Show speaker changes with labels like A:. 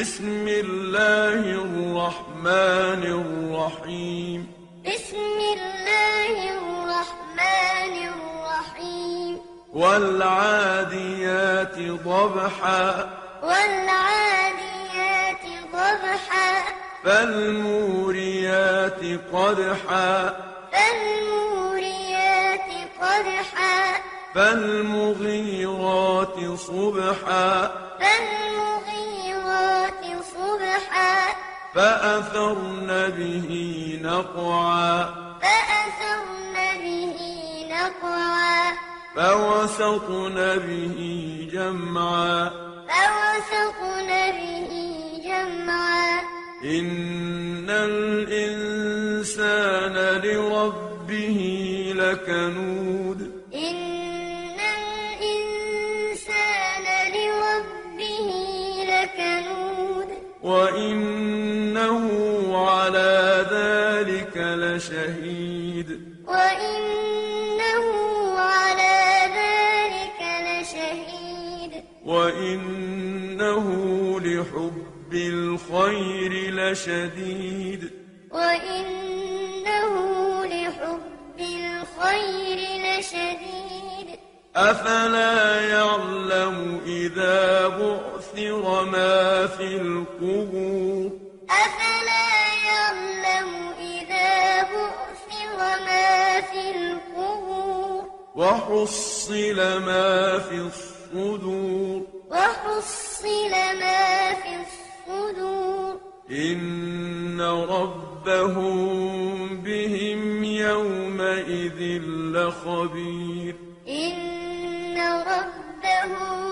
A: بسم الله الرحمن الرحيم
B: بسم الله الرحمن الرحيم
A: والعاديات ضبحا
B: والعاديات ضبحا
A: فالموريات قدحا
B: فالموريات قدحا
A: فالمغيرات صبحا
B: فالمغيرات صبحا
A: فأثرن به نقعا
B: فأثرن به نقعا
A: فوسطن به جمعا
B: فوسطن به جمعا
A: إن الإنسان لربه لكنود
B: إن الإنسان لربه لكنود
A: وإنه على ذلك لشهيد
B: وإنه على ذلك لشهيد
A: وإنه لحب الخير لشديد
B: وإنه لحب الخير لشديد
A: أفلا يعلم إذا بعثر ما في القبور
B: أفلا يعلم إذا بعثر ما في القبور
A: وحصل ما في الصدور
B: وحصل ما في الصدور
A: إن ربهم بهم يومئذ لخبير
B: إن ربهم